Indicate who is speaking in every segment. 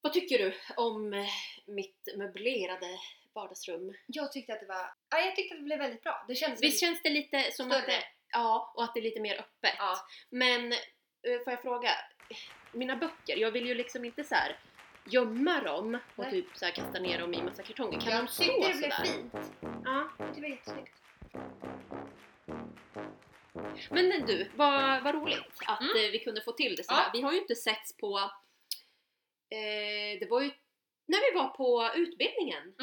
Speaker 1: Vad tycker du om eh, mitt möblerade vardagsrum?
Speaker 2: Jag tyckte att det var... Ja, jag tyckte att det blev väldigt bra. Det kändes
Speaker 1: Visst känns det lite som att det,
Speaker 2: Alltså, Större.
Speaker 1: ja, och att det är lite mer öppet?
Speaker 2: Ja.
Speaker 1: Men eh, får jag fråga, mina böcker, jag vill ju liksom inte så här gömma dem och
Speaker 2: Nej.
Speaker 1: typ så här kasta ner dem i massa kartonger. Kan
Speaker 2: Jag
Speaker 1: de stå
Speaker 2: tyckte det blev
Speaker 1: sådär?
Speaker 2: fint.
Speaker 1: Ja.
Speaker 2: Det var jättesnyggt.
Speaker 1: Men du, vad, vad roligt att
Speaker 2: Mm.
Speaker 1: eh, vi kunde få till det sådär.
Speaker 2: Ja.
Speaker 1: Vi har ju inte setts på... Eh, det var ju när vi var på utbildningen.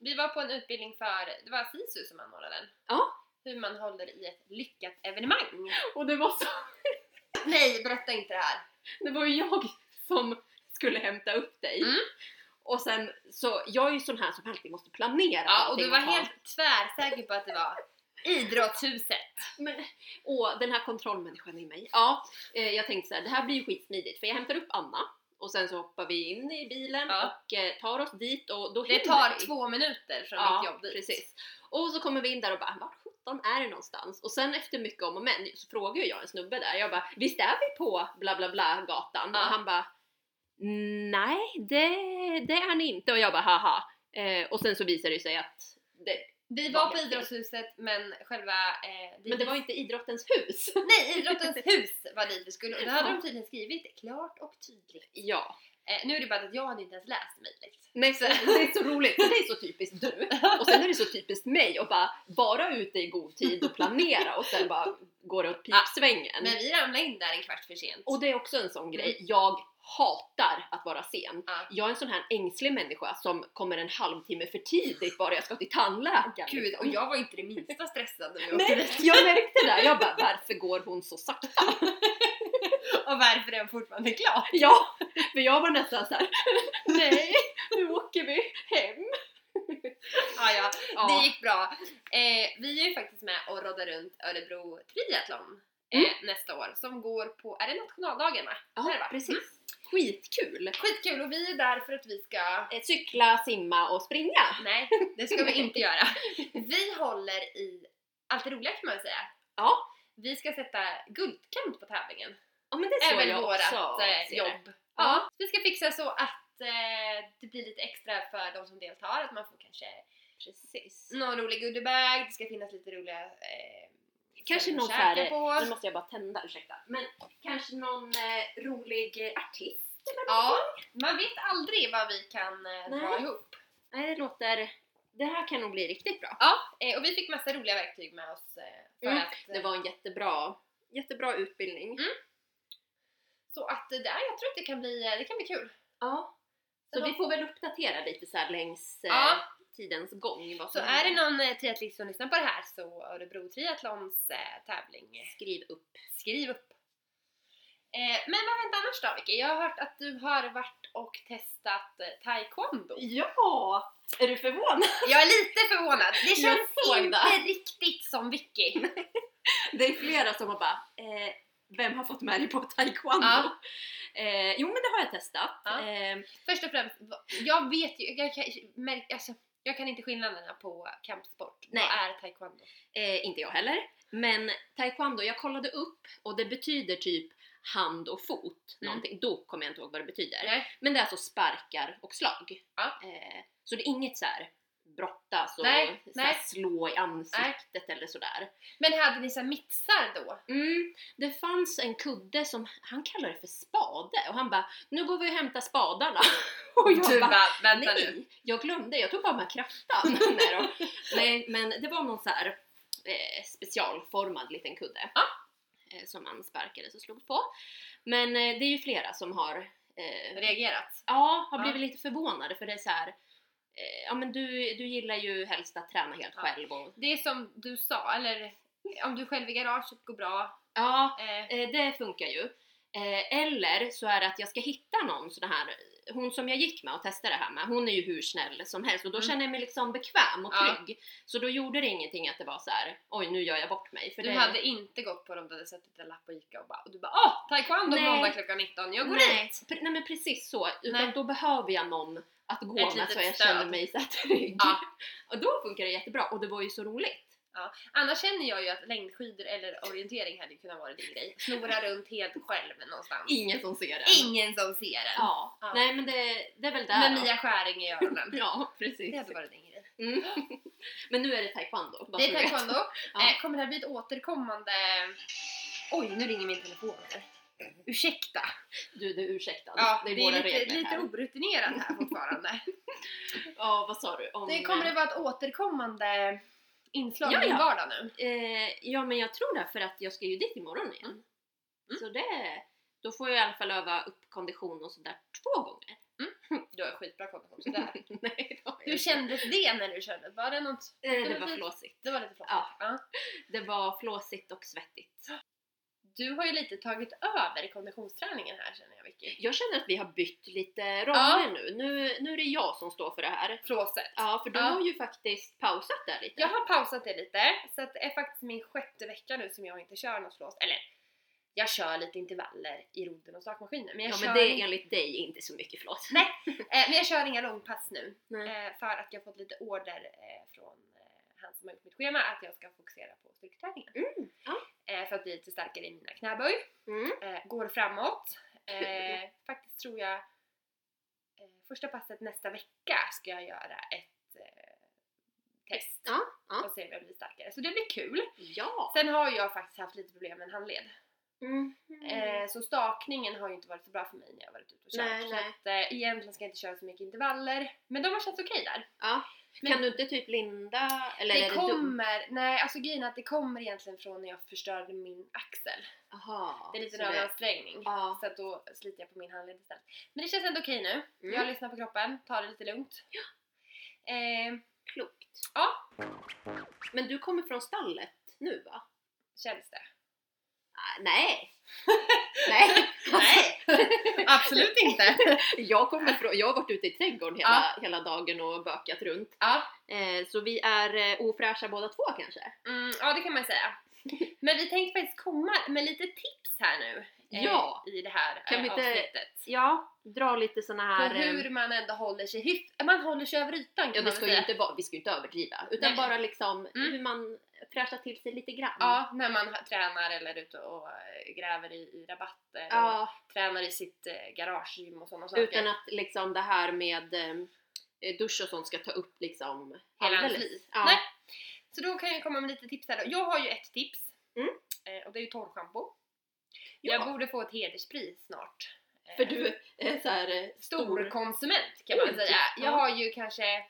Speaker 2: Vi var på en utbildning för, det var SISU som anordnade den.
Speaker 1: Ja.
Speaker 2: Hur man håller i ett lyckat evenemang.
Speaker 1: Och det var så
Speaker 2: Nej, berätta inte det här.
Speaker 1: Det var ju jag som skulle hämta upp dig.
Speaker 2: Mm.
Speaker 1: Och sen så, jag är ju sån här som alltid måste planera
Speaker 2: Ja, och
Speaker 1: allting
Speaker 2: du var
Speaker 1: fan.
Speaker 2: helt tvärsäker på att det var idrottshuset.
Speaker 1: Men, åh, den här kontrollmänniskan i mig. Ja, eh, jag tänkte så här, det här blir ju skitsmidigt för jag hämtar upp Anna och sen så hoppar vi in i bilen
Speaker 2: Ja.
Speaker 1: och eh, tar oss dit och då
Speaker 2: Det
Speaker 1: hinner
Speaker 2: tar
Speaker 1: vi.
Speaker 2: två minuter från
Speaker 1: ja,
Speaker 2: mitt jobb dit.
Speaker 1: precis. Och så kommer vi in där och bara, vart sjutton är det någonstans? Och sen efter mycket om och men så frågar ju jag en snubbe där, jag bara, visst är vi på bla bla bla gatan?
Speaker 2: Ja.
Speaker 1: Och han bara, nej det, det är ni inte. Och jag bara, haha. Eh, och sen så visar det sig att det,
Speaker 2: Vi var på
Speaker 1: Vanligt.
Speaker 2: idrottshuset men själva... Eh,
Speaker 1: men det var inte idrottens hus.
Speaker 2: Nej, idrottens hus var dit vi skulle och det hade
Speaker 1: Ja.
Speaker 2: de tydligen skrivit klart och tydligt.
Speaker 1: ja.
Speaker 2: Eh, nu är det bara att jag hade inte ens läst mejlet.
Speaker 1: Nej, så, det är så roligt, för det är så typiskt du. Och sen är det så typiskt mig att bara vara ute i god tid och planera och sen bara går det åt pipsvängen.
Speaker 2: Men vi ramlade in där en kvart för sent.
Speaker 1: Och det är också en sån grej, jag hatar att vara sen.
Speaker 2: Mm. Ja.
Speaker 1: Jag är en sån här ängslig människa som kommer en halvtimme för tidigt bara jag ska till tandläkaren.
Speaker 2: Gud, och jag var inte det minsta stressad när vi åkte
Speaker 1: Nej,
Speaker 2: dit.
Speaker 1: jag märkte det! Jag bara, varför går hon så sakta?
Speaker 2: Och varför är den fortfarande klar?
Speaker 1: Ja, för jag var nästan så här. nej, nu åker vi hem.
Speaker 2: Ah, ja,
Speaker 1: Ja.
Speaker 2: Det gick bra. Eh, vi är ju faktiskt med och roddar runt Örebro Triathlon eh, nästa år som går på, är det nationaldagen va? Där,
Speaker 1: ja,
Speaker 2: va? Mm.
Speaker 1: precis. Skitkul!
Speaker 2: Skitkul och vi är där för att vi ska
Speaker 1: Eh, Cykla, simma och springa.
Speaker 2: Nej, det ska vi inte göra. Vi håller i allt det roliga kan man säga.
Speaker 1: Ja.
Speaker 2: Vi ska sätta guldkant på tävlingen.
Speaker 1: Ja men det såg
Speaker 2: Även
Speaker 1: jag
Speaker 2: vårat
Speaker 1: också.
Speaker 2: eh,
Speaker 1: ser det.
Speaker 2: jobb.
Speaker 1: Ja.
Speaker 2: Vi ska fixa så att eh, det blir lite extra för de som deltar. Att man får kanske
Speaker 1: Precis.
Speaker 2: någon rolig goodiebag, det ska finnas lite roliga eh,
Speaker 1: Kanske
Speaker 2: ställen
Speaker 1: någon
Speaker 2: att käka
Speaker 1: färre,
Speaker 2: på.
Speaker 1: nu måste jag bara tända, ursäkta. Men kanske någon eh, rolig eh, artist?
Speaker 2: Ja, man vet aldrig vad vi kan eh, dra
Speaker 1: Nej.
Speaker 2: ihop.
Speaker 1: Nej det låter, det här kan nog bli riktigt bra.
Speaker 2: Ja, eh, och vi fick massa roliga verktyg med oss eh, för
Speaker 1: Mm,
Speaker 2: att eh,
Speaker 1: Det var en jättebra, jättebra utbildning.
Speaker 2: Mm. Så att eh, det, jag tror att det kan bli, eh, det kan bli kul.
Speaker 1: Ja. Så
Speaker 2: Så
Speaker 1: vi
Speaker 2: då-
Speaker 1: får väl uppdatera lite så här längs eh,
Speaker 2: Ja.
Speaker 1: tidens gång. Vad
Speaker 2: Så
Speaker 1: som
Speaker 2: är det
Speaker 1: händer.
Speaker 2: någon eh, triathlist som lyssnar på det här så Örebro Triathlons eh, tävling, eh,
Speaker 1: Skriv upp.
Speaker 2: skriv upp! Eh, men vad har hänt annars då Vicky? Jag har hört att du har varit och testat eh, taekwondo.
Speaker 1: Ja! Är du förvånad?
Speaker 2: Jag är lite förvånad. Det
Speaker 1: Jag
Speaker 2: känns
Speaker 1: såg
Speaker 2: inte
Speaker 1: det.
Speaker 2: riktigt som Vicky.
Speaker 1: Det är flera som har bara eh, vem har fått med dig på taekwondo?
Speaker 2: Ja.
Speaker 1: Eh, jo men det har jag testat.
Speaker 2: Ja.
Speaker 1: Eh,
Speaker 2: Först och främst, va- jag vet ju, jag kan, märk- alltså, jag kan inte skillnaderna på kampsport.
Speaker 1: Nej.
Speaker 2: Vad är taekwondo?
Speaker 1: Eh, inte jag heller. Men taekwondo, jag kollade upp och det betyder typ hand och fot.
Speaker 2: Mm.
Speaker 1: Någonting. Då kommer jag inte ihåg vad det betyder.
Speaker 2: Nej.
Speaker 1: Men det är alltså sparkar och slag.
Speaker 2: Ja.
Speaker 1: Eh, så det är inget så här brottas och
Speaker 2: Nej,
Speaker 1: så
Speaker 2: nej.
Speaker 1: här slå i ansiktet eller sådär.
Speaker 2: Men hade ni så här mittsar då?
Speaker 1: Mm, det fanns en kudde som han kallar det för spade och han bara nu går vi och hämtar spadarna. Och jag bara,
Speaker 2: vänta nu.
Speaker 1: Nej, jag glömde. Jag tog bara med kraftan. Nej, då. Nej, men det var någon så här eh, specialformad liten kudde
Speaker 2: Ja.
Speaker 1: eh, som man sparkade och slog på. Men eh, det är ju flera som har, eh,
Speaker 2: Reagerat?
Speaker 1: ja, har
Speaker 2: Ja.
Speaker 1: blivit lite förvånade för det är så här. Eh, ja men du, du gillar ju helst att träna helt
Speaker 2: Ja.
Speaker 1: själv och
Speaker 2: Det är som du sa, eller om du är själv i garaget går bra.
Speaker 1: ja,
Speaker 2: Eh,
Speaker 1: eh, det funkar ju. Eh, eller så är det att jag ska hitta någon sån här, hon som jag gick med och testade det här med, hon är ju hur snäll som helst och då
Speaker 2: Mm.
Speaker 1: känner jag mig liksom bekväm och
Speaker 2: Ja.
Speaker 1: trygg. Så då gjorde det ingenting att det var så här, oj nu gör jag bort mig. För
Speaker 2: du
Speaker 1: det,
Speaker 2: hade inte gått på dem där du suttit en lapp på Ica och bara och du bara åh taekwondo
Speaker 1: Nej.
Speaker 2: måndag klockan 19, jag går dit!
Speaker 1: nej, pre- nej men precis så, utan
Speaker 2: Nej.
Speaker 1: då behöver jag någon att gå
Speaker 2: Ett
Speaker 1: med
Speaker 2: litet
Speaker 1: så jag
Speaker 2: stöd.
Speaker 1: känner mig så här trygg.
Speaker 2: Ja.
Speaker 1: Och då funkar det jättebra och det var ju så roligt.
Speaker 2: Annars känner jag ju att längdskidor eller orientering hade ju kunnat vara din grej. Snora runt helt själv någonstans.
Speaker 1: Ingen som ser den.
Speaker 2: Ingen som ser den.
Speaker 1: Ja.
Speaker 2: Ja.
Speaker 1: Nej men det, det är väl där
Speaker 2: Med
Speaker 1: då.
Speaker 2: Mia Skäring i öronen.
Speaker 1: Ja, precis.
Speaker 2: Det hade varit din grej.
Speaker 1: Mm. Men nu är det taekwondo. bara
Speaker 2: Det
Speaker 1: så
Speaker 2: är
Speaker 1: du vet.
Speaker 2: taekwondo.
Speaker 1: Ja.
Speaker 2: Eh, kommer det här bli ett återkommande... Oj, nu ringer min telefon här. Ursäkta!
Speaker 1: Du, du är ursäktad.
Speaker 2: Ja,
Speaker 1: det är våra
Speaker 2: lite,
Speaker 1: regler
Speaker 2: lite
Speaker 1: här.
Speaker 2: obrutinerat här fortfarande.
Speaker 1: Ja, vad sa du? Om, eh,
Speaker 2: Det kommer det vara ett återkommande inslag
Speaker 1: Ja,
Speaker 2: i din
Speaker 1: ja.
Speaker 2: vardag nu.
Speaker 1: eh, ja, men jag tror det för att jag ska ju dit imorgon igen. Så det... Då får jag i alla fall öva upp kondition och sådär två gånger.
Speaker 2: Du har skitbra kondition sådär.
Speaker 1: Nej, då har jag
Speaker 2: Hur
Speaker 1: inte.
Speaker 2: kändes det när du körde? Var det något...
Speaker 1: Eh, Det var flåsigt.
Speaker 2: Det var lite flott.
Speaker 1: Ja. Det var flåsigt och svettigt.
Speaker 2: Du har ju lite tagit över konditionsträningen här känner jag Vicky.
Speaker 1: Jag känner att vi har bytt lite
Speaker 2: Ja.
Speaker 1: roller nu. nu. Nu är det jag som står för det här.
Speaker 2: Flåset.
Speaker 1: Ja, för du
Speaker 2: Ja.
Speaker 1: har ju faktiskt pausat där lite.
Speaker 2: Jag har pausat det lite, så att det är faktiskt min sjätte vecka nu som jag inte kör något flås. Eller, jag kör lite intervaller i rodden och stakmaskiner. Men jag,
Speaker 1: Ja,
Speaker 2: kör,
Speaker 1: men det är enligt dig inte så mycket flås.
Speaker 2: Nej. eh, men jag kör inga långpass nu.
Speaker 1: Nej.
Speaker 2: Eh, för att jag fått lite order eh, från eh, han som har gjort mitt schema att jag ska fokusera på styrketräningen.
Speaker 1: Mm, ja.
Speaker 2: eh, för att bli lite starkare i mina knäböj.
Speaker 1: Mm.
Speaker 2: eh, går framåt. Eh, faktiskt tror jag eh, första passet nästa vecka ska jag göra ett eh, test
Speaker 1: Ja, ja.
Speaker 2: och se om jag blir starkare. Så det blir kul.
Speaker 1: Ja!
Speaker 2: Sen har jag faktiskt haft lite problem med en handled.
Speaker 1: Mm.
Speaker 2: Eh, så stakningen har ju inte varit så bra för mig när jag varit ute och kört.
Speaker 1: Nej,
Speaker 2: så
Speaker 1: nej.
Speaker 2: Att, eh, egentligen ska jag inte köra så mycket intervaller. Men de har känts okej där.
Speaker 1: Ja.
Speaker 2: Men-
Speaker 1: Kan du inte typ linda? Eller är
Speaker 2: det
Speaker 1: det du?
Speaker 2: kommer, nej alltså grejen är att det kommer egentligen från när jag förstörde min axel.
Speaker 1: Aha,
Speaker 2: Det är lite
Speaker 1: så
Speaker 2: en
Speaker 1: det-
Speaker 2: överansträngning.
Speaker 1: Ja.
Speaker 2: Så att då sliter jag på min handled istället. Men det känns ändå okej nu.
Speaker 1: Mm.
Speaker 2: Jag lyssnar på kroppen, tar det lite lugnt. Eh,
Speaker 1: Klokt.
Speaker 2: Ja.
Speaker 1: Men du kommer från stallet nu va?
Speaker 2: känns det?
Speaker 1: Ah, Nej! Nej!
Speaker 2: Nej! Absolut inte!
Speaker 1: Jag, kommer från, jag har varit ute i trädgården hela,
Speaker 2: Ja.
Speaker 1: hela dagen och bökat runt.
Speaker 2: Ja,
Speaker 1: Eh, så vi är eh, ofräscha båda två kanske?
Speaker 2: mm, ja det kan man säga. Men vi tänkte faktiskt komma med lite tips här nu. eh,
Speaker 1: Ja.
Speaker 2: I det här
Speaker 1: Kan
Speaker 2: eh,
Speaker 1: vi inte-
Speaker 2: avsnittet. ehm,
Speaker 1: Ja, dra lite såna
Speaker 2: På
Speaker 1: här... eh,
Speaker 2: hur man ändå håller sig hyfsat, man håller sig över ytan kan
Speaker 1: Ja, det
Speaker 2: man
Speaker 1: ska
Speaker 2: väl
Speaker 1: ju
Speaker 2: säga.
Speaker 1: inte vara, vi ska ju inte överdriva. Utan
Speaker 2: Nej.
Speaker 1: bara liksom
Speaker 2: Mm.
Speaker 1: hur man fräschar till sig lite grann.
Speaker 2: Ja, när man har- tränar eller är ute och eh, gräver i, i rabatter
Speaker 1: Ja,
Speaker 2: och tränar i sitt eh, garagegym och sådana saker.
Speaker 1: Utan att liksom det här med eh, dusch och sånt ska ta upp liksom
Speaker 2: Hela
Speaker 1: alldeles.
Speaker 2: hans liv.
Speaker 1: Ja.
Speaker 2: Nej. Så då kan jag komma med lite tips här då. Jag har ju ett tips.
Speaker 1: Mm.
Speaker 2: Eh, och det är ju torrschampo.
Speaker 1: Ja.
Speaker 2: Jag borde få ett hederspris snart. Eh,
Speaker 1: För du är såhär
Speaker 2: stor
Speaker 1: eh, stor.
Speaker 2: konsument kan man
Speaker 1: Oj,
Speaker 2: säga.
Speaker 1: ja.
Speaker 2: Jag har ju kanske...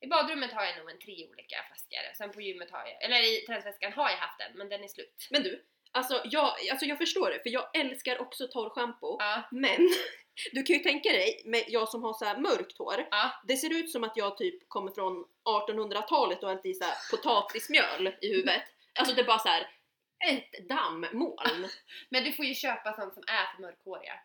Speaker 2: I badrummet har jag nog en tre olika flaskor. Sen på gymmet har jag... Eller i träningsväskan har jag haft en men den är slut.
Speaker 1: Men du, alltså jag, alltså jag förstår det för jag älskar också torrschampo.
Speaker 2: Ja.
Speaker 1: Men du kan ju tänka dig, med jag som har så här mörkt hår,
Speaker 2: Ja.
Speaker 1: det ser ut som att jag typ kommer från 1800-talet och ätit så här potatismjöl i huvudet. Alltså det är bara så här ett dammmoln.
Speaker 2: Men du får ju köpa sånt som är för mörkhåriga.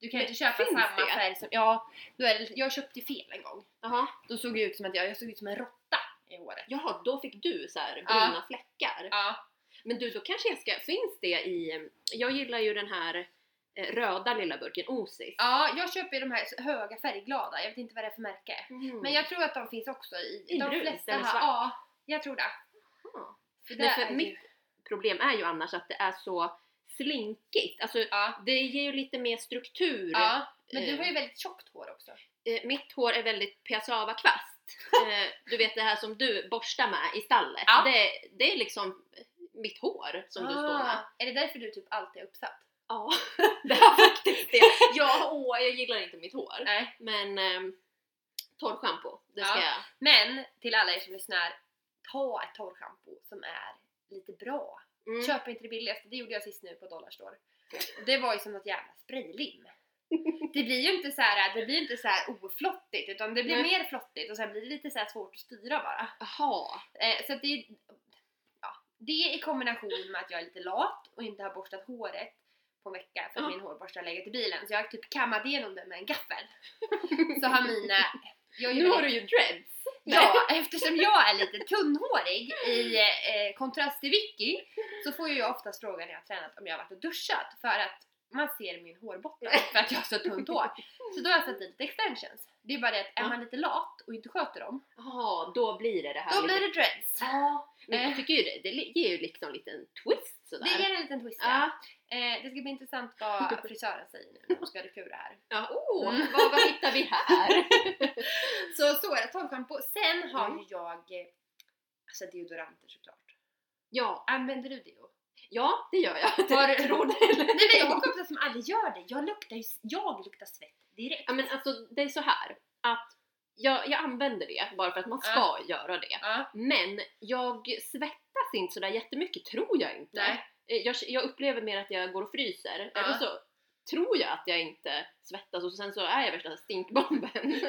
Speaker 2: Du kan ju
Speaker 1: Men
Speaker 2: inte köpa
Speaker 1: finns
Speaker 2: samma
Speaker 1: det?
Speaker 2: färg som... Ja, då är det, jag köpte ju fel en gång.
Speaker 1: Jaha,
Speaker 2: Då såg jag ut som att jag, jag såg ut som en råtta i håret.
Speaker 1: jaha, då fick du så här bruna fläckar.
Speaker 2: Ja.
Speaker 1: Men du, då kanske jag ska... Finns det i... Jag gillar ju den här eh, röda lilla burken, Osis.
Speaker 2: Ja, jag köper ju de här så höga färgglada, jag vet inte vad det är för märke.
Speaker 1: Mm.
Speaker 2: Men jag tror att de finns också i,
Speaker 1: I
Speaker 2: de
Speaker 1: brunt
Speaker 2: flesta
Speaker 1: eller
Speaker 2: här.
Speaker 1: svart?
Speaker 2: Ja, jag tror det.
Speaker 1: Ja.
Speaker 2: För
Speaker 1: Nej, för
Speaker 2: är ju-
Speaker 1: mitt- Problem är ju annars att det är så slinkigt. Alltså,
Speaker 2: Ja.
Speaker 1: det ger ju lite mer struktur.
Speaker 2: ja, men du
Speaker 1: Eh.
Speaker 2: har ju väldigt tjockt hår också.
Speaker 1: Eh, mitt hår är väldigt piassava-kvast. eh, du vet det här som du borstar med i stallet.
Speaker 2: Ja.
Speaker 1: Det, det är liksom mitt hår som du står med.
Speaker 2: Är det därför du typ alltid är uppsatt? oh.
Speaker 1: Ja, det är faktiskt det. Ja, åh, jag gillar inte mitt hår.
Speaker 2: Nej.
Speaker 1: Men eh, torrschampo, det ska
Speaker 2: Ja.
Speaker 1: jag.
Speaker 2: Men till alla er som lyssnar, ta ett torrschampo som är lite bra.
Speaker 1: Mm.
Speaker 2: Köp inte det billigaste, det gjorde jag sist nu på Dollarstore. Det var ju som något jävla spraylim. Det blir ju inte så här, det blir inte så här oflottigt utan det blir
Speaker 1: Nej.
Speaker 2: mer flottigt och sen blir det lite så här svårt att styra bara.
Speaker 1: Jaha.
Speaker 2: Eh, så att det, ja, det i kombination med att jag är lite lat och inte har borstat håret på en vecka för att
Speaker 1: Ja.
Speaker 2: min hårborste har legat i bilen så jag har typ kammat igenom det med en gaffel. Så har mina... Jag är ju
Speaker 1: Nu har
Speaker 2: väldigt-
Speaker 1: du ju dreads!
Speaker 2: Ja, eftersom jag är lite tunnhårig i eh, kontrast till Vicky så får ju jag oftast frågan när jag har tränat om jag har varit och duschat för att man ser min hårbotten för att jag har så tunt hår. Så då har jag satt i lite extensions. Det är bara det att är
Speaker 1: Ja.
Speaker 2: man lite lat och inte sköter dem,
Speaker 1: Jaha, då blir det det här
Speaker 2: då blir det dreads.
Speaker 1: Ja, men
Speaker 2: Eh.
Speaker 1: jag tycker ju det, det ger ju liksom en liten twist sådär.
Speaker 2: Det ger en liten twist ja.
Speaker 1: Ja,
Speaker 2: eh, Det ska bli intressant vad frisören säger nu när hon ska kura här.
Speaker 1: ja åh,
Speaker 2: Mm.
Speaker 1: vad, vad hittar vi här?
Speaker 2: Så så är det torrschampo. Sen har
Speaker 1: Mm.
Speaker 2: ju jag eh, alltså deodoranter såklart.
Speaker 1: Ja,
Speaker 2: Använder du deo?
Speaker 1: ja det gör jag.
Speaker 2: Har du-
Speaker 1: Tror det eller
Speaker 2: Nej men jag
Speaker 1: ej.
Speaker 2: har kompisar som aldrig gör det. Jag luktar, ju, jag luktar svett direkt.
Speaker 1: Ja men alltså det är så här att jag, jag använder det bara för att man ska göra det.
Speaker 2: Ja,
Speaker 1: Men jag svettas inte sådär jättemycket tror jag inte.
Speaker 2: nej.
Speaker 1: Eh, Jag, jag upplever mer att jag går och fryser.
Speaker 2: Ja.
Speaker 1: Eller så tror jag att jag inte svettas och sen så är jag värsta stinkbomben.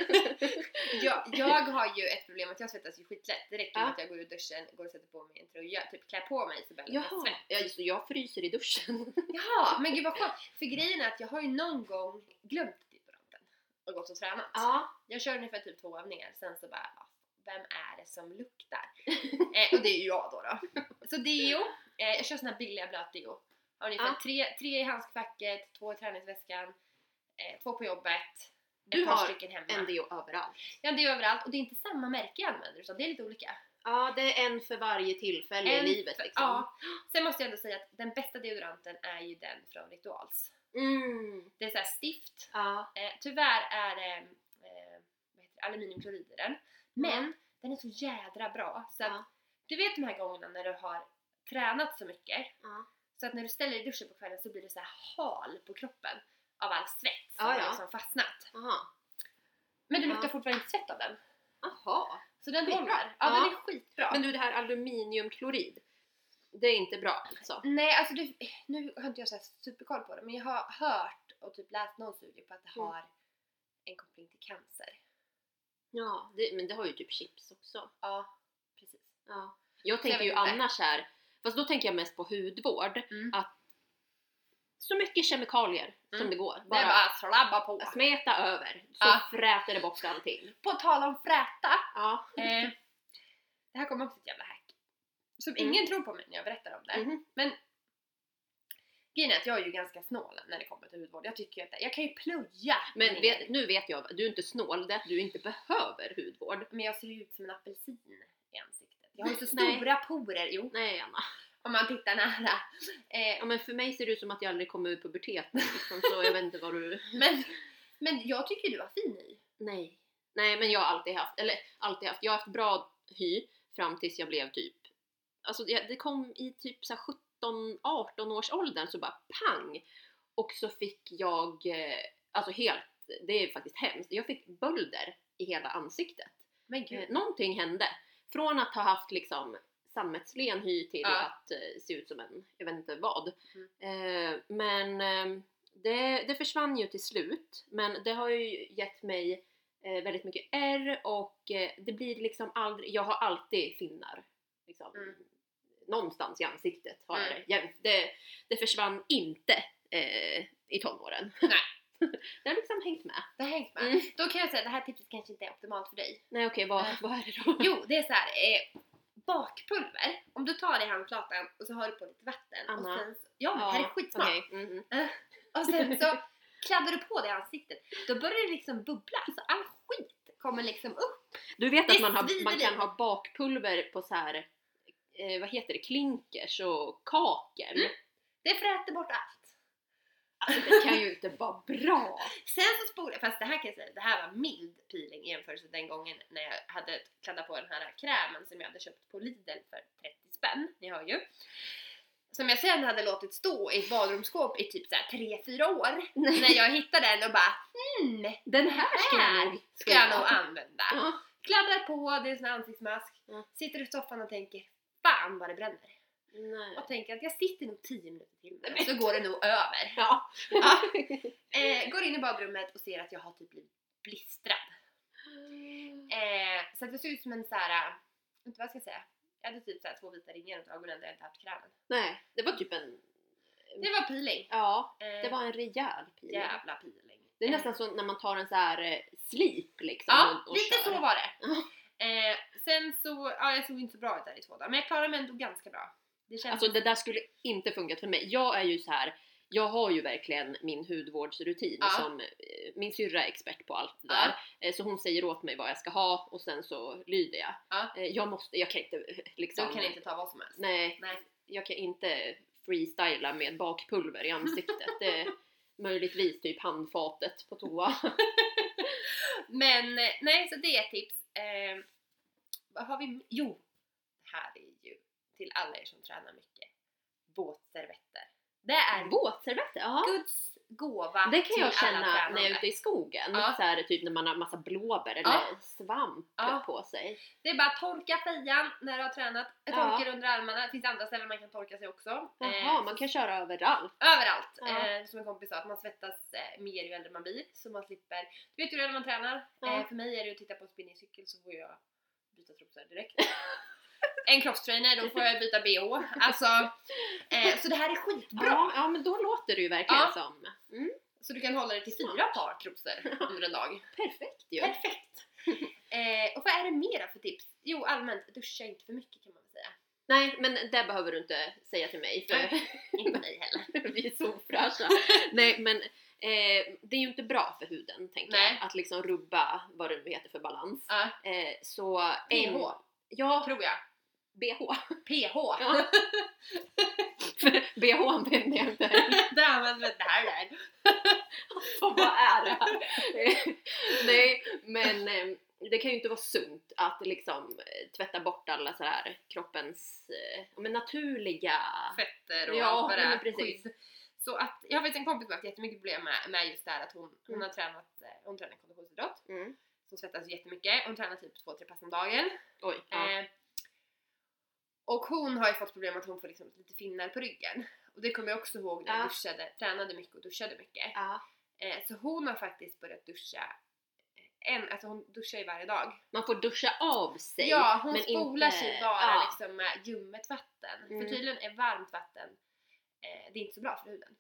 Speaker 2: Jag, jag har ju ett problem att jag svettas ju skitlätt. Det räcker med
Speaker 1: Ja.
Speaker 2: att jag går ur duschen, går och sätter på mig en tröja, typ klär på mig så börjar jag lukta
Speaker 1: Jaha,
Speaker 2: svett.
Speaker 1: ja, så jag fryser i duschen.
Speaker 2: Jaha, men gud vad skönt. För grejen är att jag har ju någon gång glömt deodoranten och gått och tränat.
Speaker 1: Ja.
Speaker 2: Jag kör ungefär typ två övningar, sen så bara "Ah, vem är det som luktar? eh, och det är ju jag då. då. Så deo, eh, jag kör sån här billiga blötdeo. Har ungefär
Speaker 1: Ja.
Speaker 2: tre, tre i handskfacket, två i träningsväskan, eh, två på jobbet,
Speaker 1: Du
Speaker 2: ett par
Speaker 1: har
Speaker 2: stycken hemma.
Speaker 1: En deo överallt.
Speaker 2: Ja, det är överallt och det är inte samma märke jag använder utan det är lite olika.
Speaker 1: Ja, det är en för varje tillfälle
Speaker 2: En
Speaker 1: i livet
Speaker 2: för-
Speaker 1: liksom.
Speaker 2: Ja. Sen måste jag ändå säga att den bästa deodoranten är ju den från Rituals.
Speaker 1: Mm.
Speaker 2: Det är så här stift,
Speaker 1: Ja.
Speaker 2: Eh, tyvärr är det eh, vad heter det, aluminiumklorid i den. Men den är så jädra bra. Så att,
Speaker 1: Ja.
Speaker 2: Du vet de här gångerna när du har tränat så mycket
Speaker 1: Ja.
Speaker 2: så att när du ställer dig i duschen på kvällen så blir du så här hal på kroppen av all svett
Speaker 1: Ja,
Speaker 2: som har
Speaker 1: ja.
Speaker 2: liksom fastnat.
Speaker 1: Aha.
Speaker 2: Men du
Speaker 1: Ja.
Speaker 2: luktar fortfarande inte svett av den.
Speaker 1: Aha.
Speaker 2: Så den
Speaker 1: Skitbra.
Speaker 2: håller. Ja,
Speaker 1: Ja.
Speaker 2: den är skitbra.
Speaker 1: Men du det här aluminiumklorid, det är inte bra alltså?
Speaker 2: Nej alltså du, nu har inte jag så här superkoll på det men jag har hört och typ läst någon studie på att det
Speaker 1: Mm.
Speaker 2: har en koppling till cancer.
Speaker 1: Ja, det, men det har ju typ chips också.
Speaker 2: Ja, precis.
Speaker 1: Ja. Jag
Speaker 2: Så
Speaker 1: tänker
Speaker 2: jag
Speaker 1: ju
Speaker 2: vet inte.
Speaker 1: annars här, fast då tänker jag mest på hudvård,
Speaker 2: Mm.
Speaker 1: att så mycket kemikalier
Speaker 2: Mm.
Speaker 1: som det går.
Speaker 2: Det är
Speaker 1: Bara Alltså,
Speaker 2: bara slabba på.
Speaker 1: smeta över så
Speaker 2: Ja.
Speaker 1: fräter det bort allting.
Speaker 2: På tal om fräta.
Speaker 1: Ja.
Speaker 2: Eh, det här kommer också ett jävla hack. Som
Speaker 1: Mm.
Speaker 2: ingen tror på mig när jag berättar om det.
Speaker 1: Mhm.
Speaker 2: Grejen är att jag är ju ganska snål när det kommer till hudvård. Jag tycker ju att jag kan ju plöja
Speaker 1: Men
Speaker 2: ner.
Speaker 1: vet, nu vet jag, du är inte snål, det är att du inte behöver hudvård.
Speaker 2: Men jag ser ju ut som en apelsin i ansiktet. Jag har ju så
Speaker 1: Nej.
Speaker 2: stora porer, jo,
Speaker 1: Nej Anna.
Speaker 2: om man tittar nära. Eh,
Speaker 1: Ja, men för mig ser det ut som att jag aldrig kommer ur puberteten liksom, så jag vet inte vad du...
Speaker 2: men, men jag tycker du har fin hy.
Speaker 1: Nej. Nej men jag har alltid haft, eller alltid haft, jag har haft bra hy fram tills jag blev typ, alltså jag, det kom i typ så här 17-18 års åldern så bara pang! Och så fick jag, eh, alltså helt, det är faktiskt hemskt, jag fick bölder i hela ansiktet.
Speaker 2: Men gud.
Speaker 1: Eh, Någonting hände. Från att ha haft liksom sammetslen hy till
Speaker 2: Ja.
Speaker 1: att eh, se ut som en, jag vet inte vad.
Speaker 2: Mm.
Speaker 1: Eh, men eh, det, det försvann ju till slut. Men det har ju gett mig eh, väldigt mycket ärr och eh, det blir liksom aldrig, jag har alltid finnar. Liksom.
Speaker 2: Mm.
Speaker 1: Någonstans i ansiktet har jag
Speaker 2: Mm.
Speaker 1: det. jämt. det. Det försvann inte eh, i tonåren.
Speaker 2: Nej.
Speaker 1: det har liksom hängt med.
Speaker 2: Det har hängt med.
Speaker 1: Mm.
Speaker 2: Då kan jag säga att det här tipset kanske inte är optimalt för dig.
Speaker 1: Nej okej, vad,
Speaker 2: Nej.
Speaker 1: vad är det då?
Speaker 2: Jo, det är så här. Eh, bakpulver. Om du tar det i handflatan och så har du på lite vatten. Och
Speaker 1: Anna.
Speaker 2: sen, ja, men det här är skitsmart.
Speaker 1: okej. Mm, mm.
Speaker 2: Och sen så kladdar du på det i ansiktet. Då börjar det liksom bubbla. Så all skit kommer liksom upp.
Speaker 1: Du vet
Speaker 2: Det
Speaker 1: att man, har,
Speaker 2: svider
Speaker 1: man kan
Speaker 2: i.
Speaker 1: ha bakpulver på så här, eh, vad heter det, klinkers och kakel?
Speaker 2: Mm. Det fräter bort allt.
Speaker 1: Alltså det kan ju inte vara bra!
Speaker 2: Sen så spolar fast det här kan jag säga, det här var mild peeling i jämförelse med den gången när jag hade kladdat på den här krämen som jag hade köpt på Lidl för 30 spänn, ni hör ju. Som jag sen hade låtit stå i ett badrumsskåp i typ såhär 3-4 år. När jag hittade den och bara hmm,
Speaker 1: Den här ska
Speaker 2: Här
Speaker 1: jag nog
Speaker 2: ska jag nog
Speaker 1: prova.
Speaker 2: använda.
Speaker 1: Ja.
Speaker 2: Kladdar på, det är en sån här ansiktsmask.
Speaker 1: Ja.
Speaker 2: Sitter i soffan och tänker fan vad det bränner.
Speaker 1: Nej.
Speaker 2: och tänker att jag sitter nog 10 minuter till med
Speaker 1: Nej.
Speaker 2: det, så går det nog över.
Speaker 1: Ja.
Speaker 2: Ja. Eh, går in i badrummet och ser att jag har typ blivit blistrad. Eh, så att jag ser ut som en så här, eh, inte vad jag ska säga, jag hade typ så här två vita ringar runt ögonen där jag inte haft krämen.
Speaker 1: Nej, det var typ en...
Speaker 2: Det var peeling.
Speaker 1: Ja,
Speaker 2: Eh,
Speaker 1: det var en rejäl pil.
Speaker 2: jävla peeling.
Speaker 1: Det är
Speaker 2: Eh,
Speaker 1: nästan som när man tar en så här eh, slip liksom
Speaker 2: Ja,
Speaker 1: och, och
Speaker 2: lite
Speaker 1: kör.
Speaker 2: så var det.
Speaker 1: Ja.
Speaker 2: Eh, sen så, ja jag såg inte så bra ut där i två dagar, men jag klarade mig ändå ganska bra. Det kändes
Speaker 1: Alltså det där skulle inte funkat för mig. Jag är ju så här. jag har ju verkligen min hudvårdsrutin
Speaker 2: Ja.
Speaker 1: som eh, min syrra är expert på allt det där. Eh, Så hon säger åt mig vad jag ska ha och sen så lyder jag.
Speaker 2: Ja.
Speaker 1: Eh, Jag måste, jag kan inte eh,
Speaker 2: Du
Speaker 1: liksom...
Speaker 2: kan inte ta vad som helst.
Speaker 1: Nej,
Speaker 2: Nej.
Speaker 1: jag kan inte freestyla med bakpulver i ansiktet. Det är möjligtvis typ handfatet på toa.
Speaker 2: Men eh, nej, så det är ett tips. Eh, vad har vi? Jo, det här är ju till alla er som tränar mycket. Våtservetter. Det är
Speaker 1: Våtservetter, ja.
Speaker 2: Guds gåva
Speaker 1: Det kan
Speaker 2: till
Speaker 1: jag känna
Speaker 2: alla tränande.
Speaker 1: när jag är ute i skogen.
Speaker 2: Ja.
Speaker 1: Så här, typ när man har massa blåbär eller
Speaker 2: Ja.
Speaker 1: svamp
Speaker 2: Ja.
Speaker 1: på sig.
Speaker 2: Det är bara att torka fejan när du har tränat.
Speaker 1: Ja.
Speaker 2: Torka under armarna. Det finns andra ställen man kan torka sig också.
Speaker 1: Jaha,
Speaker 2: Eh,
Speaker 1: man kan köra överallt.
Speaker 2: Överallt!
Speaker 1: Ja.
Speaker 2: Eh, som en kompis sa, att man svettas eh, mer ju äldre man blir. Så man slipper... Du vet ju det när man tränar.
Speaker 1: Ja.
Speaker 2: Eh, för mig är det att titta på en spinningcykel så får jag byta trosor direkt. en crosstrainer, då får jag byta bh. Alltså, eh, så det här är skitbra!
Speaker 1: Ja, ja, men då låter det ju verkligen
Speaker 2: Ja.
Speaker 1: som... Mm,
Speaker 2: Så du kan hålla dig till fyra
Speaker 1: Smart.
Speaker 2: par trosor under en dag.
Speaker 1: perfekt ju.
Speaker 2: Perfekt! Eh, och vad är det mera för tips? Jo, allmänt, duscha inte för mycket kan man väl säga.
Speaker 1: Nej, men det behöver du inte säga till mig för
Speaker 2: Inte mig heller.
Speaker 1: vi är så ofräscha. Nej, men eh, det är ju inte bra för huden tänker
Speaker 2: Nej.
Speaker 1: jag. Att liksom rubba vad det nu heter för balans.
Speaker 2: Ja.
Speaker 1: Eh, så... en-
Speaker 2: PH,
Speaker 1: Ja,
Speaker 2: tror jag.
Speaker 1: BH.
Speaker 2: PH!
Speaker 1: Ja. BH använder jag inte heller.
Speaker 2: det använder vi det här där.
Speaker 1: Så Vad är det här? Eh, Nej, men eh, det kan ju inte vara sunt att liksom eh, tvätta bort alla så här kroppens eh, ja, men naturliga...
Speaker 2: fetter och
Speaker 1: Ja,
Speaker 2: allt vad det
Speaker 1: men
Speaker 2: är.
Speaker 1: precis.
Speaker 2: Skydd. Så att, jag har faktiskt en kompis som har haft jättemycket problem med, med just det här att hon, hon
Speaker 1: Mm.
Speaker 2: har tränat, eh, hon tränar konditionsidrott,
Speaker 1: Mm.
Speaker 2: hon svettas jättemycket, hon tränar typ två, tre pass om dagen.
Speaker 1: Oj. Ja.
Speaker 2: Eh, och hon har ju fått problem att hon får liksom lite finnar på ryggen. Och det kommer jag också ihåg när jag
Speaker 1: Ja.
Speaker 2: duschade, tränade mycket och duschade mycket.
Speaker 1: Ja.
Speaker 2: Eh, så hon har faktiskt börjat duscha, en, alltså hon duschar ju varje dag.
Speaker 1: Man får duscha av sig.
Speaker 2: Ja, hon
Speaker 1: men
Speaker 2: spolar
Speaker 1: inte-
Speaker 2: sig bara
Speaker 1: ja.
Speaker 2: liksom med ljummet vatten.
Speaker 1: Mm.
Speaker 2: För tydligen är varmt vatten, eh, det är inte så bra för huden.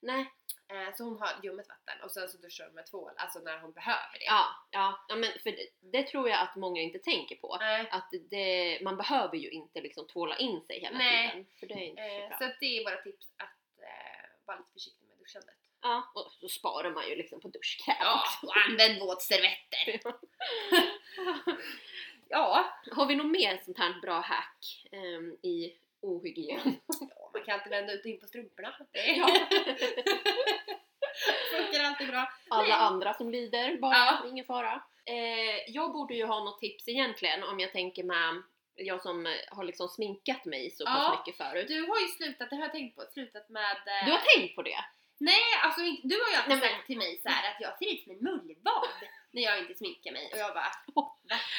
Speaker 1: Nej.
Speaker 2: Eh, så hon har ljummet vatten och sen så duschar hon med tvål, alltså när hon behöver det.
Speaker 1: Ja, ja. ja men för det, det tror jag att många inte tänker på.
Speaker 2: Eh,
Speaker 1: Att det, man behöver ju inte liksom tvåla in sig hela
Speaker 2: Nej.
Speaker 1: tiden. För det är inte så bra.
Speaker 2: eh, så att det är våra tips att eh, vara lite försiktig med duschandet.
Speaker 1: Ja, och så sparar man ju liksom på duschkräm också.
Speaker 2: och använd våtservetter! ja.
Speaker 1: Har vi något mer sånt här bra hack ehm, i ohygien?
Speaker 2: ja, man kan alltid vända ut och in på strumporna. Det
Speaker 1: Ja.
Speaker 2: funkar alltid bra.
Speaker 1: Alla
Speaker 2: Nej.
Speaker 1: andra som lider, bara
Speaker 2: Ja.
Speaker 1: ingen fara. Eh, jag borde ju ha något tips egentligen om jag tänker med jag som eh, har liksom sminkat mig så pass
Speaker 2: Ja.
Speaker 1: mycket förut.
Speaker 2: Du har ju slutat, det har jag tänkt på, slutat med... eh,
Speaker 1: Du har tänkt på det?
Speaker 2: Nej, alltså inte- du har ju alltid
Speaker 1: Nej, men-
Speaker 2: sagt till mig så här att jag ser ut som en mullvad när jag inte sminkar mig och jag bara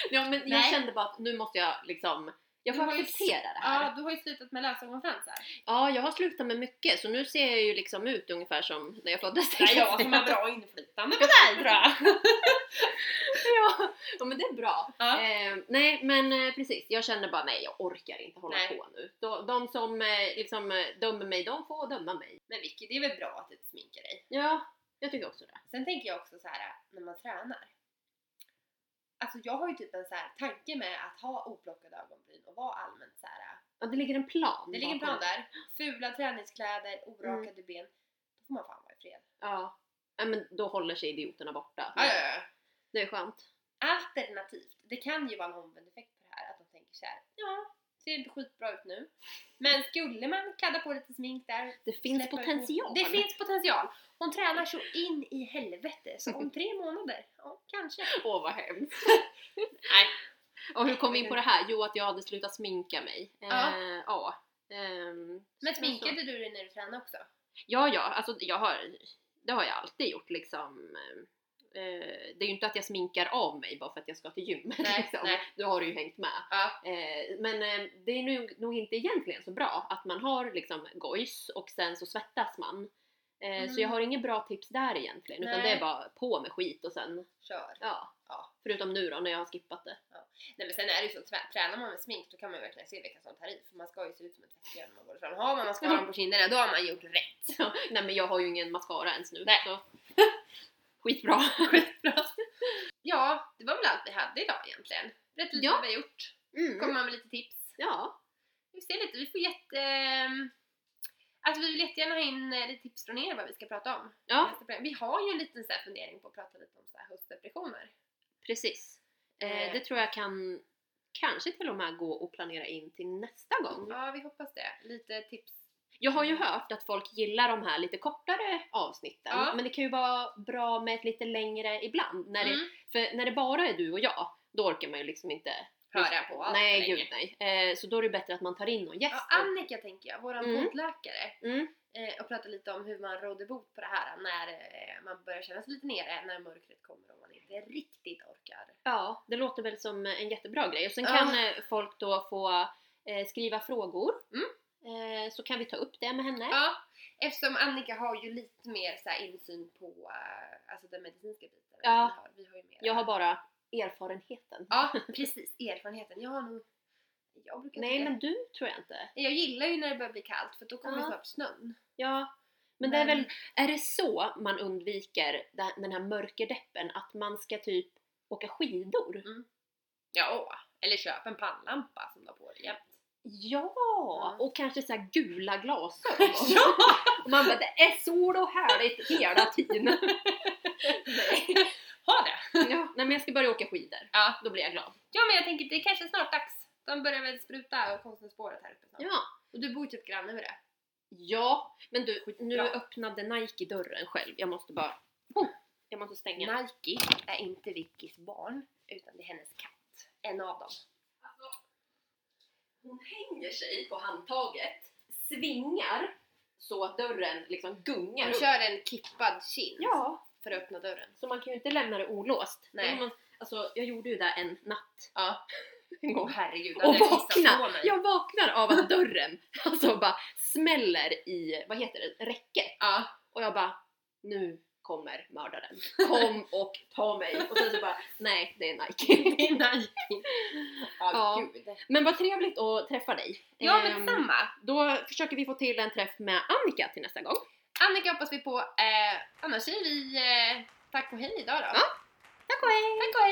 Speaker 1: Ja, men jag
Speaker 2: Nej.
Speaker 1: kände bara att nu måste jag liksom, jag får
Speaker 2: Du har ju-
Speaker 1: acceptera det här.
Speaker 2: Ja, du har ju slutat med lösögonfransar.
Speaker 1: Ja, jag har slutat med mycket så nu ser jag ju liksom ut ungefär som när jag föddes.
Speaker 2: Det är jag som har bra inflytande på det här, tror jag.
Speaker 1: ja. ja, men det är bra.
Speaker 2: Ja.
Speaker 1: Eh, nej men eh, precis, jag känner bara nej jag orkar inte hålla
Speaker 2: Nej.
Speaker 1: på nu. De, de som eh, liksom eh, dömer mig, de får döma mig.
Speaker 2: Men Vicky, det är väl bra att du inte sminkar dig?
Speaker 1: Ja, jag tycker också det.
Speaker 2: Sen tänker jag också så här när man tränar. Alltså jag har ju typ en så här tanke med att ha oplockade ögonbryn och vara allmänt så här.
Speaker 1: Ja, det ligger en plan.
Speaker 2: Det ligger en
Speaker 1: bakom
Speaker 2: plan där. Fula träningskläder, orakade ben. Då får man fan vara ifred.
Speaker 1: Ja. Nej, men då håller sig idioterna borta.
Speaker 2: Ja, ja, ja.
Speaker 1: Det är skönt.
Speaker 2: Alternativt, det kan ju vara en omvänd effekt på det här, att de tänker så här. ja, ser inte skitbra ut nu. Men skulle man kadda på lite smink där,
Speaker 1: Det finns
Speaker 2: släppa ut-
Speaker 1: potential.
Speaker 2: Det finns potential! Hon tränar så in i helvete, så om tre månader, ja kanske.
Speaker 1: Åh vad hemskt.
Speaker 2: Nej.
Speaker 1: Och hur kom vi in på det här? Jo att jag hade slutat sminka mig.
Speaker 2: Ja.
Speaker 1: Eh, ja. Ehm,
Speaker 2: Men
Speaker 1: så- så.
Speaker 2: sminkade du dig när du tränade också?
Speaker 1: Ja, ja, alltså jag har, det har jag alltid gjort liksom. Eh, det är ju inte att jag sminkar av mig bara för att jag ska till gymmet.
Speaker 2: Nej,
Speaker 1: liksom.
Speaker 2: nej.
Speaker 1: Då har du ju hängt med.
Speaker 2: Ja.
Speaker 1: Eh, men eh, det är nog, nog inte egentligen så bra att man har liksom gojs och sen så svettas man. Eh,
Speaker 2: Mm.
Speaker 1: Så jag har inget bra tips där egentligen utan
Speaker 2: Nej.
Speaker 1: det är bara på med skit och sen
Speaker 2: Kör.
Speaker 1: ja.
Speaker 2: Ja.
Speaker 1: Förutom nu då när jag har skippat det.
Speaker 2: Nej men sen är det ju så, trä- tränar man med smink då kan man ju verkligen se vilka som tar i, för man ska ju se ut som ett tvättbjörn när man går ifrån. Har man mascaran på kinderna, då har man gjort rätt.
Speaker 1: Så, nej men jag har ju ingen mascara ens nu.
Speaker 2: Nej.
Speaker 1: Så. Skitbra.
Speaker 2: Ja, det var väl allt vi hade idag egentligen. Berätta lite
Speaker 1: Ja.
Speaker 2: vad vi har gjort,
Speaker 1: Mm.
Speaker 2: komma med lite tips.
Speaker 1: Ja.
Speaker 2: Vi ser lite, vi får jätte... ehm, Alltså Alltså vi vill jättegärna ha in eh, lite tips från er vad vi ska prata om.
Speaker 1: Ja,
Speaker 2: Nästa program. Vi har ju en liten så här fundering på att prata lite om så här höstdepressioner.
Speaker 1: precis. Eh,
Speaker 2: Eh.
Speaker 1: det tror jag kan kanske till och med gå och planera in till nästa gång.
Speaker 2: Ja, vi hoppas det. Lite tips.
Speaker 1: Jag har ju
Speaker 2: Mm.
Speaker 1: hört att folk gillar de här lite kortare avsnitten,
Speaker 2: Ja.
Speaker 1: men det kan ju vara bra med ett lite längre ibland. När
Speaker 2: Mm.
Speaker 1: det, för när det bara är du och jag, då orkar man ju liksom inte
Speaker 2: Höra på allt
Speaker 1: Nej,
Speaker 2: för
Speaker 1: gud
Speaker 2: länge.
Speaker 1: nej. Eh, så då är det bättre att man tar in någon gäst.
Speaker 2: Ja, Annika tänker jag, våran
Speaker 1: Mm.
Speaker 2: poddläkare.
Speaker 1: Mm.
Speaker 2: Eh, och prata lite om hur man råder bot på det här när eh, man börjar känna sig lite nere, när mörkret kommer och man inte riktigt orkar.
Speaker 1: Ja, det låter väl som en jättebra grej. Och sen
Speaker 2: Ja.
Speaker 1: kan eh, folk då få eh, skriva frågor.
Speaker 2: Mm.
Speaker 1: Eh, så kan vi ta upp det med henne.
Speaker 2: Ja, eftersom Annika har ju lite mer så här insyn på eh, alltså den medicinska biten. än
Speaker 1: Ja.
Speaker 2: Vi har, vi har ju mer.
Speaker 1: Jag har bara erfarenheten.
Speaker 2: Ja, precis. Erfarenheten. Jag har nog... Jag brukar
Speaker 1: Nej,
Speaker 2: tycka-
Speaker 1: men du tror jag inte.
Speaker 2: Jag gillar ju när det börjar bli kallt för då kommer
Speaker 1: Ja.
Speaker 2: snart snön.
Speaker 1: Ja. Men, det är
Speaker 2: Men-
Speaker 1: väl, är det så man undviker den- den här mörkerdeppen? Att man ska typ åka skidor?
Speaker 2: Mm. Ja, eller köp en pannlampa som du har på dig jämt.
Speaker 1: Ja!
Speaker 2: Ja.
Speaker 1: Och kanske så här gula glasögon.
Speaker 2: Ja!
Speaker 1: Och man bara, det är sol och härligt hela tiden.
Speaker 2: ha det!
Speaker 1: Ja, nej men jag ska börja åka skidor.
Speaker 2: Ja.
Speaker 1: Då blir jag glad.
Speaker 2: Ja men jag tänker det är kanske snart dags. De börjar väl spruta och konstnärsspåret här uppe snart.
Speaker 1: Ja.
Speaker 2: Och du bor ju typ granne med det.
Speaker 1: Ja, men du, nu
Speaker 2: Bra.
Speaker 1: öppnade Nike dörren själv. Jag måste bara... Oh, jag måste stänga.
Speaker 2: Nike är inte Vickys barn utan det är hennes katt. En av dem.
Speaker 1: Hon hänger sig på handtaget, svingar så att dörren liksom gungar
Speaker 2: Hon
Speaker 1: upp.
Speaker 2: kör en kippad kind
Speaker 1: Ja,
Speaker 2: för att öppna dörren.
Speaker 1: så man kan ju inte lämna det olåst.
Speaker 2: Nej.
Speaker 1: Det är Man, alltså, jag gjorde ju det en natt.
Speaker 2: Ja.
Speaker 1: En gång.
Speaker 2: Åh herregud,
Speaker 1: Och
Speaker 2: hade jag kissat alltså på
Speaker 1: vaknar!
Speaker 2: mig.
Speaker 1: Jag vaknar av att dörren alltså bara smäller i, vad heter det, räcket.
Speaker 2: Ja.
Speaker 1: Och jag bara, nu kommer mördaren. Kom och ta mig! Och sen så bara, nej det är Nike.
Speaker 2: Det är Nike. Ja,
Speaker 1: Ja.
Speaker 2: gud.
Speaker 1: Men vad trevligt att träffa dig.
Speaker 2: Ja men
Speaker 1: Ehm,
Speaker 2: detsamma.
Speaker 1: Då försöker vi få till en träff med Annika till nästa gång.
Speaker 2: Annika hoppas vi på. Eh, annars säger vi eh, tack och hej idag då.
Speaker 1: Ja. Tack och hej!
Speaker 2: Tack och hej!